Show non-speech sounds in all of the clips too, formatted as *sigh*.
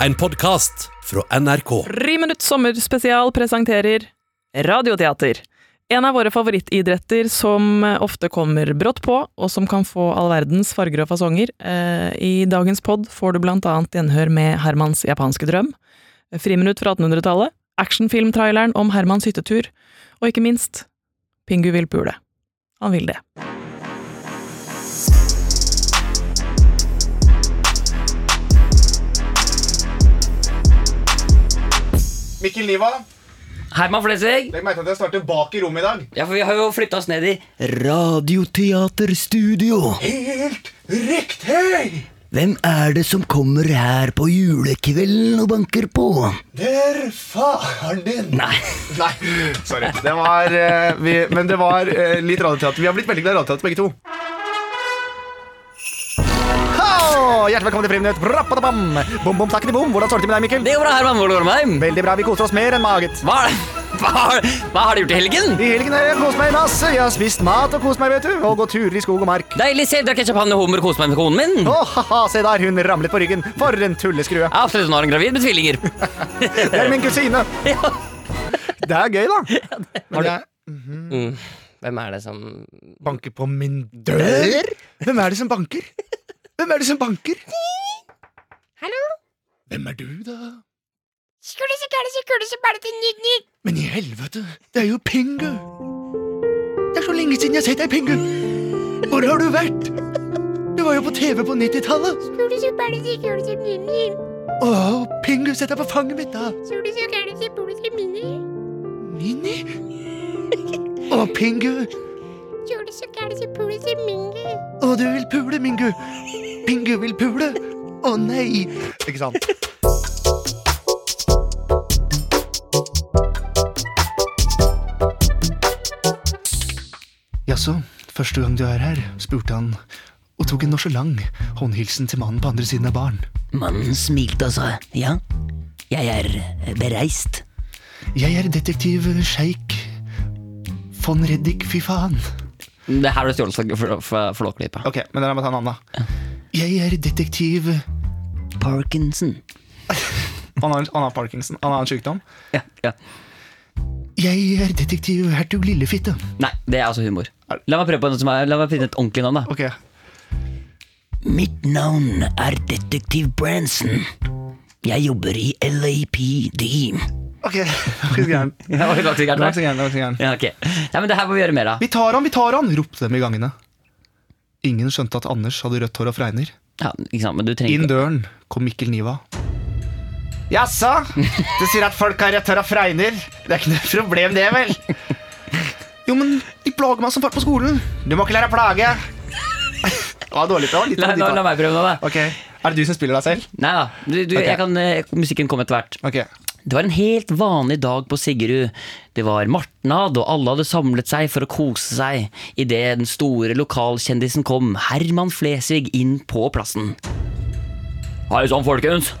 En podkast fra NRK. Riminutt sommerspesial presenterer radioteater. En av våre favorittidretter som ofte kommer brått på, og som kan få all verdens farger og fasonger. Eh, I dagens pod får du blant annet gjenhør med Hermans japanske drøm, Friminutt fra 1800-tallet, actionfilmtraileren om Hermans hyttetur, og ikke minst Pingu vil pule. Han vil det. Mikkel Niva, Herman Flesvig. legg merke til at jeg starter bak i rommet i dag. Ja, for vi har jo flytta oss ned i Radioteaterstudio. Helt riktig! Hvem er det som kommer her på julekvelden og banker på? Det er faren din. Nei. Nei, sorry. Det var, eh, vi, men det var eh, litt radioteater. Vi har blitt veldig glad i radioteater, begge to. Ho! Hjertelig velkommen til Friminutt. Rappadabam! Bom, bom, takketi, bom. Hvordan står det til med deg, Mikkel? Det går bra, Herman. Hvordan går det med deg? Veldig bra. Vi koser oss mer enn maget. Hva, er det- hva, har- hva har du gjort i helgen? I helgen har jeg kost meg masse. Jeg har spist mat og kost meg, vet du. Og gått turer i skog og mark. Deilig. Selv drakk jeg champagne og hummer og koste meg med konen min. Å, ha-ha, se der. Hun ramlet på ryggen. For en tulleskrue. Ja, absolutt, hun har en gravid med tvillinger. Det er min *laughs* kusine. Ja. Det er gøy, da. Men du- jeg Mm. Hvem er det som banker på min dør? Hvem er det som banker? Hvem er det som banker? Hallo? Hvem er du, da? Skulle så gære, så gære, så bare til nytt nytt. Men i helvete, det er jo Pingu! Det er så lenge siden jeg har sett deg, Pingu! Hvor har du vært? Du var jo på TV på 90-tallet! Skulle så bare til gære, så nytt nytt. Å, Pingu, sett deg på fanget mitt, da! Skulle så gære, så bare til mini. Mini? Å, Pingu! Skulle så gære, så bare til mini. Å, du vil pule, Mingu! Pingu vil pule! Å nei! Ikke sant? Jaså, første gang du er her, spurte han og tok en nonchalant håndhilsen til mannen på andre siden av baren. Mannen smilte og sa ja, jeg eh, er bereist. Jeg er detektiv sjeik von Reddik, fy faen. Det her ble stjålet fra- fra Flåklypa. Ok, men la meg ta en annen, da. Jeg er detektiv Parkinson. Han har, han har parkinson, han har en sykdom. Ja, ja. Jeg er detektiv hertug Lillefitte. Nei, det er altså humor. La meg prøve på noe som er La meg finne et ordentlig navn, da. Ok, Mitt navn er detektiv Branson. Jeg jobber i LAPD. ok, *laughs* det var ikke så gærent. Det Ja, det var ikke var ikke så gærent, nei. gærent, det var ikke så gærent. Ja, ok. Nei, men det her må vi gjøre mer av. Vi tar han, vi tar han, ropte de i gangene. Ingen skjønte at Anders hadde rødt hår og fregner. Ja, ikke sant, men du trenger Inn døren kom Mikkel Niva. Jaså? Du sier at folk har rødt hår og fregner? Det er ikke noe problem, det vel? Jo, men de plager meg som fart på skolen. Du må ikke la deg plage. Det var dårlig, det var litt La, la, la meg prøve nå, da. Ok, er det du som spiller deg selv? Nei da. Du, du, Ok. jeg kan, eh, musikken kommer etter hvert. Ok. Det var en helt vanlig dag på Siggerud. Det var martnad, og alle hadde samlet seg for å kose seg idet den store lokalkjendisen kom, Herman Flesvig, inn på plassen. Hei sann, folkens.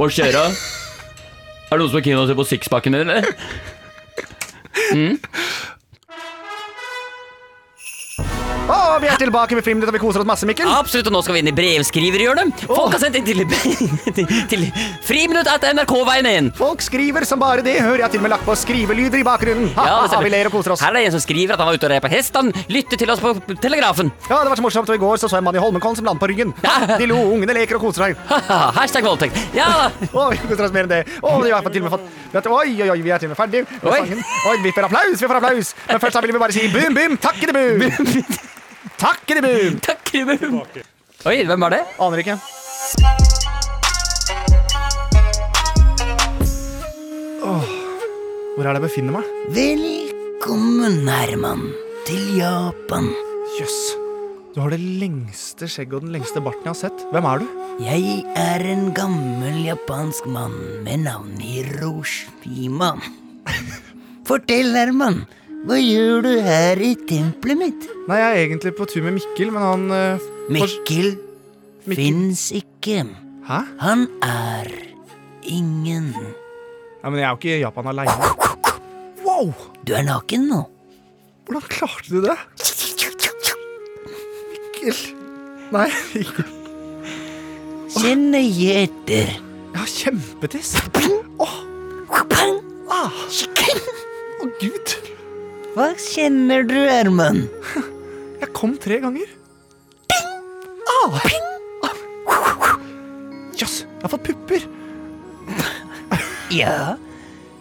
Hva skjer da? Er det noen som er keen på å se på sixpacken min, eller? Å, vi er tilbake med filmen, og vi koser oss masse, Mikkel. Absolutt, og nå skal vi inn i brevskriverhjørnet. Folk har sendt inn til, *laughs* til, til friminutt etter NRK-veien inn. Folk skriver som bare det, hører jeg til og med lagt på skrivelyder i bakgrunnen. Ha, Ja, ha, *laughs* det ha, stemmer. vi ler og koser oss. Her er det en som skriver at han var ute og rei på hest. Han lytter til oss på Telegrafen. *laughs* Ja, det var så morsomt, og i går så så jeg en mann i Holmenkollen som landet på ryggen. Ha, *laughs* De lo, ungene leker og koser seg. Hashtag voldtekt. Ja, Å, vi koser oss mer enn det. Å, vi har til og med fått... vet du, Oi, oi, oi, vi er til og med ferdig med Oi. sangen. Oi, vi får applaus, vi får applaus. Men først da vil vi bare si boom, boom, takke det boom. *laughs* Takke det boom. takk, Ruben. Oi, hvem var det? Aner ikke. Åh, hvor er det jeg befinner meg? Velkommen, Herman, til Japan. Jøss. Du har det lengste skjegget og den lengste barten jeg har sett. Hvem er du? Jeg er en gammel japansk mann med navn Hiroshima. Fortell, Herman, hva gjør du her i tempelet mitt? Nei, Jeg er egentlig på tur med Mikkel, men han eh, fors- Mikkel fins ikke. Hæ? Han er ingen. Nei, men Jeg er jo ikke i Japan aleine. Wow! Du er naken nå. Hvordan klarte du det? Mikkel Nei. *laughs* Se nøye etter. Jeg har kjempetiss. Åh, ah, å gud. Hva kjenner du, Herman? Jeg kom tre ganger. Ah. Ah. Jøss, jeg har fått pupper. Ja,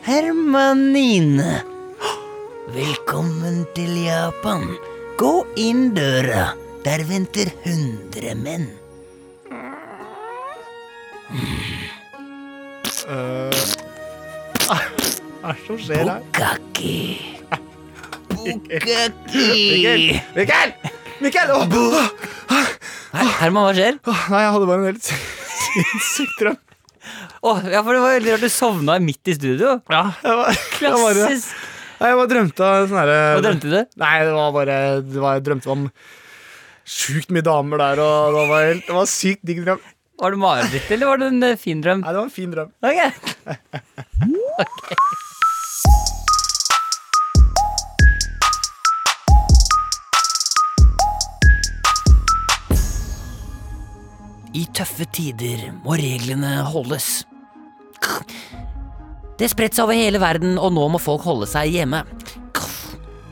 Hermanine. Velkommen til Japan. Gå inn døra. Der venter hundre menn. Hva er det som skjer her? Kaki. Bukaki. Mikael! Mikael! Åh, åh, Her, Herman, hva skjer? Å, åh, nei, jeg hadde bare en helt sinnssyk drøm. ja, for det var veldig rart du sovna midt i studio. Ja, jeg var, jeg bare, Klassisk. nei, jeg bare drømte av sånn Hva herre drømte du? Nei, det var bare det var, Jeg drømte om sjukt mye damer der, og det var, helt, det var en sykt digg drøm. Nei, Var det mareritt, eller var det en eh, fin drøm? det var en fin drøm. *laughs* Ok. I tøffe tider må reglene holdes. Det spredt seg over hele verden, og nå må folk holde seg hjemme.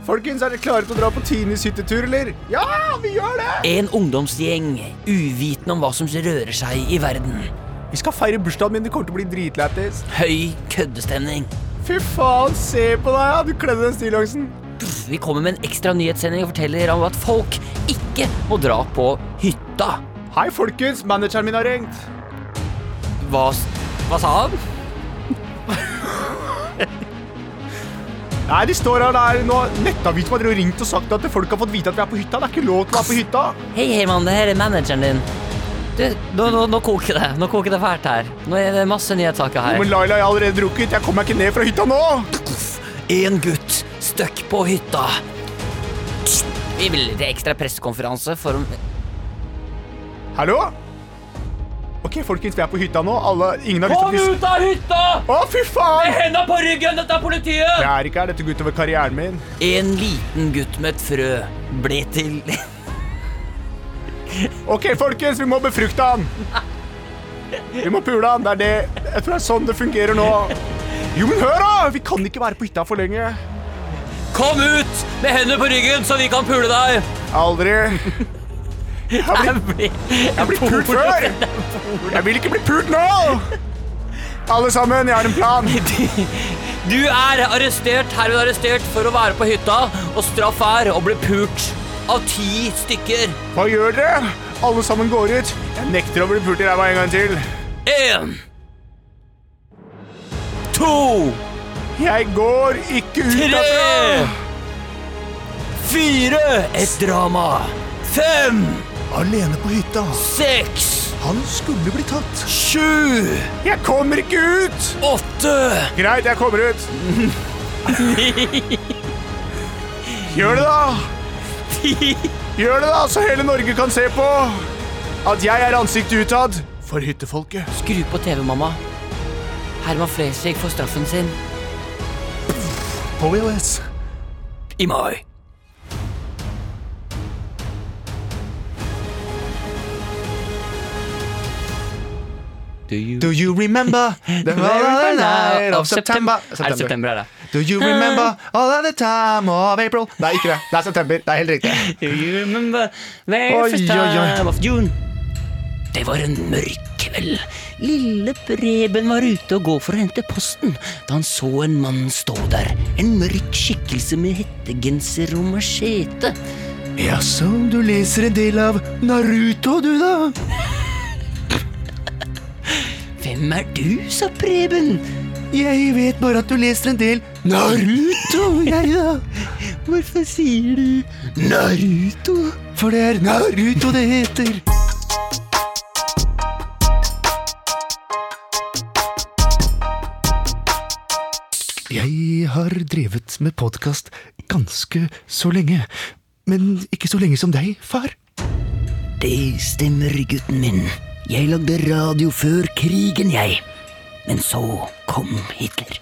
Folkens, er dere klare til å dra på Tinis hyttetur, eller? Ja, vi gjør det! En ungdomsgjeng uvitende om hva som rører seg i verden. Vi skal feire bursdagen min. Det kommer til å bli dritlættis. Høy køddestemning. Fy faen, se på deg! ja. Du kledde den stillongsen. Vi kommer med en ekstra nyhetssending og forteller om at folk ikke må dra på hytta. Hei, folkens. Manageren min har ringt. Hva, s- hva sa han? Nei, de står her der nå. Nettavisen har drevet og ringt og sagt at folk har fått vite at vi er på hytta. Det er ikke lov til å være på hytta. Hei, Herman, det her er manageren din. Du, nå, nå, nå koker det. Nå koker det fælt her. Nå er det masse nyhetssaker her. Men Laila, jeg har allerede drukket. Jeg kommer meg ikke ned fra hytta nå. En gutt støkk på hytta. Vi vil til ekstra pressekonferanse for om Hallo? Ok, folkens, vi er på hytta nå. Alle, ingen har lyst til å bli... av hytta! Å, fy faen! Henda på ryggen, dette er politiet! Jeg er ikke her. Dette går utover karrieren min. En liten gutt med et frø ble til *laughs* Ok, folkens, vi må befrukte han. Vi må pule han. Det er det. Jeg tror det er sånn det fungerer nå. Jo, men hør da! Vi kan ikke være på hytta for lenge. Kom ut med hendene på ryggen, så vi kan pule deg! Aldri. Jeg har blitt, Jeg blir, jeg jeg blir pult før. Jeg vil ikke bli pult nå. Alle sammen, jeg har en plan. Du er arrestert, herved arrestert, for å være på hytta, og straff er å bli pult av ti stykker. Hva gjør dere? Alle sammen går ut. Jeg nekter å bli pult i ræva en gang til. Én. To. Jeg går ikke ut Tre. derfra. Fire. Et drama. Fem. Alene på hytta. Seks. Han skulle bli tatt. Sju. Jeg kommer ikke ut! Åtte. Greit, jeg kommer ut. Gjør det, da! Gjør det, da, så hele Norge kan se på at jeg er ansiktet utad for hyttefolket. Skru på TV, mamma. Herman Flesvig får straffen sin På VHS. i mai. Do you remember *laughs* the other night of September? Er det september, er det? Do you remember all of the time of April? Nei, ikke det. Det er september. Det er helt riktig. Do you remember very Oi, first oi, oi. time of June? Det var en mørk kveld. Lille Preben var ute og gå for å hente posten da han så en mann stå der. En mørk skikkelse med hettegenser og machete. Jaså, du leser en del av Naruto, du, da? Hvem er du, sa Preben. Jeg vet bare at du leser en del Naruto, jeg, da. Hvorfor sier du Naruto? For det er Naruto det heter. Jeg har drevet med podkast ganske så lenge. Men ikke så lenge som deg, far. Det stemmer, gutten min. Jeg lagde radio før krigen, jeg. Men så kom Hitler.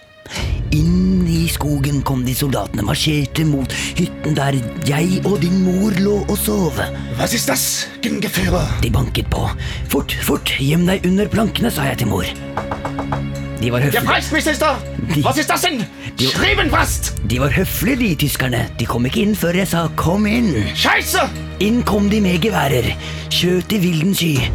Inn i i skogen kom de soldatene marsjerte mot hytten der jeg og din mor lå og sov. Was ist das, Gungeführer? De banket på. Fort, fort, gjem deg under plankene, sa jeg til mor. De var Der høflige, Preis, mich, Sister! Was ist das denn? Schreiben fast! de, var høflige, de tyskerne. De kom ikke inn før jeg sa 'kom inn'. Scheiße! Inn kom de med geværer. Skjøt i vilden sky.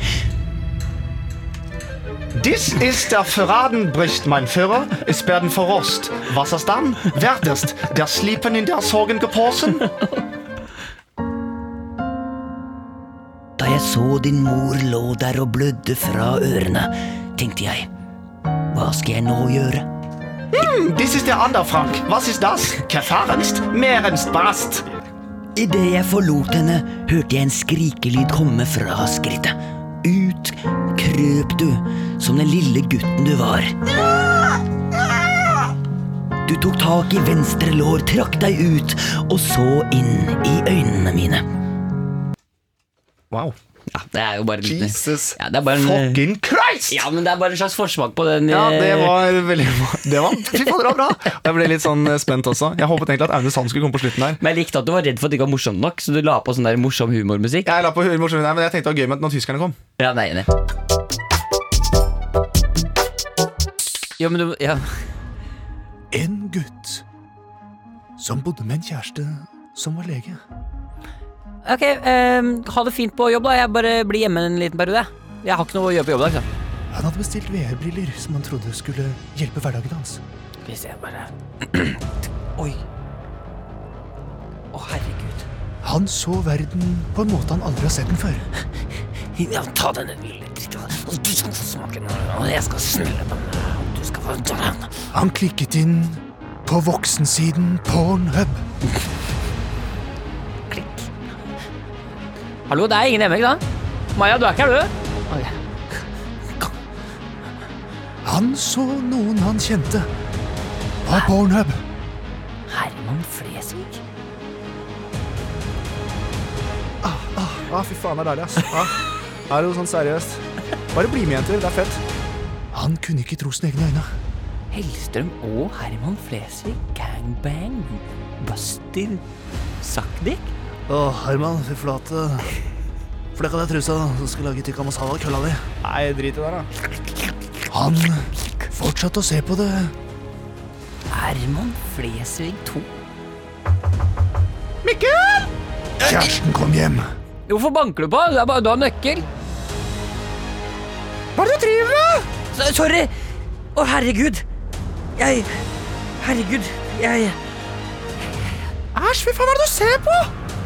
Dies ist der Verraden, bricht mein Führer. Es werden verrost. Was ist dann? Werdest der Sleepen in der Sorgen geposen? Da jeg så din mor lå der og blødde fra ørene, tenkte jeg Hva skal jeg nå gjøre? Dies ist der Ander, Frank. Was ist das? Kefahrenst, Mehrenst, Bast. Idet jeg forlot henne, hørte jeg en skrikelyd komme fra skrittet. Ut krøp du, som den lille gutten du var. Du tok tak i venstre lår, trakk deg ut og så inn i øynene mine. Wow. Ja, det er jo bare litt- Jesus Ja, det er bare en, fucking Christ! Ja, men det er bare en slags forsmak på den Ja, det eh, var veldig det *laughs* var, Fy faen, det var bra! Jeg ble litt sånn eh, spent også. Jeg håpet egentlig at Aune Sand skulle komme på slutten der. Men jeg likte at du var redd for at det ikke var morsomt nok, så du la på sånn der morsom humormusikk. Jeg la på humor, skjønner du, men jeg tenkte det var gøy med at når tyskerne kom. Ja, nei, nei. Ja, men du ja. En gutt som bodde med en kjæreste som var lege. Ok, ehm, ha det fint på jobb, da. Jeg bare blir hjemme en liten periode. Jeg har ikke noe å gjøre på jobb i dag. Så. Han hadde bestilt VR-briller som han trodde skulle hjelpe hverdagen hans. Hvis jeg bare *clears throat* Oi. Å, herregud. Han så verden på en måte han aldri har sett den før. *laughs* Ja, ta denne lille dritten. Og du skal få smake den, og jeg skal snulle den. og Du skal få den. Han klikket inn på voksensiden Pornhub. Klikk. Hallo, det er ingen hjemme, ikke sant? Maja, du er ikke her, du? Han så noen han kjente på Pornhub. Herman Flesvig? Ah, fy faen, det er deilig, ass. Ah. Er det jo sånn seriøst? Bare bli med, jenter. Det er fett. Han kunne ikke tro sine egne øyne. Hellstrøm og Herman Flesvig? Gangbang? Buster? Sakdik? Å, Herman, fy flate. Flekk av deg trusa, så skal jeg lage tikka masala av kølla di. Nei, drit i det, da. Han fortsatte å se på det. Herman Flesvig 2? Kjæresten kom hjem. Hvorfor banker du på? Det er bare du har nøkkel. Hva er det du driver med? S- Sorry! Å, herregud. Jeg Herregud, jeg Æsj, fy faen, hva er det du ser på?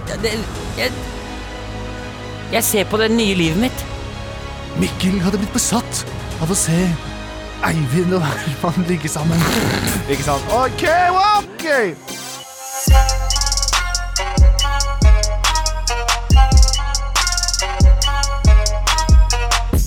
det, det, Jeg Jeg ser på det nye livet mitt. Mikkel hadde blitt besatt av å se Eivind og Herman ligge sammen. Ikke sant? OK, OK!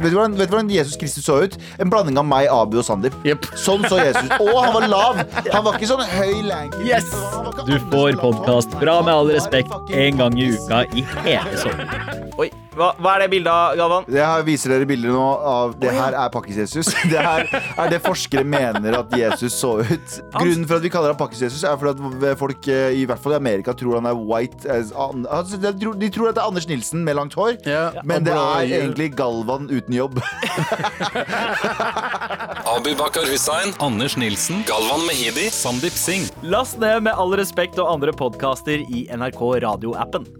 Vet du, hvordan, vet du hvordan Jesus Kristus så ut? En blanding av meg, Abu og Sandeep. Sånn så Jesus ut. Og han var lav! Han var ikke sånn høy lanky. Yes! Du får podkast fra Med all respekt en gang i uka i hele sommer. Oi, hva, hva er det bildet av, Galvan? Jeg har- viser dere bilder nå av Det her er Pakkis-Jesus. *laughs* Det her er det forskere mener at Jesus så ut. Grunnen for at vi kaller ham Pakkis-Jesus, er fordi at folk eh, i hvert fall i Amerika tror han er white as an altså, De tror de tror at det er Anders Nilsen med langt hår, men det er egentlig Galvan uten jobb. Abu Bakar Hussein, Anders Nilsen. Galvan Mehidi, Sandeep Singh. Last ned Med all respekt og andre podkaster i NRK radioappen.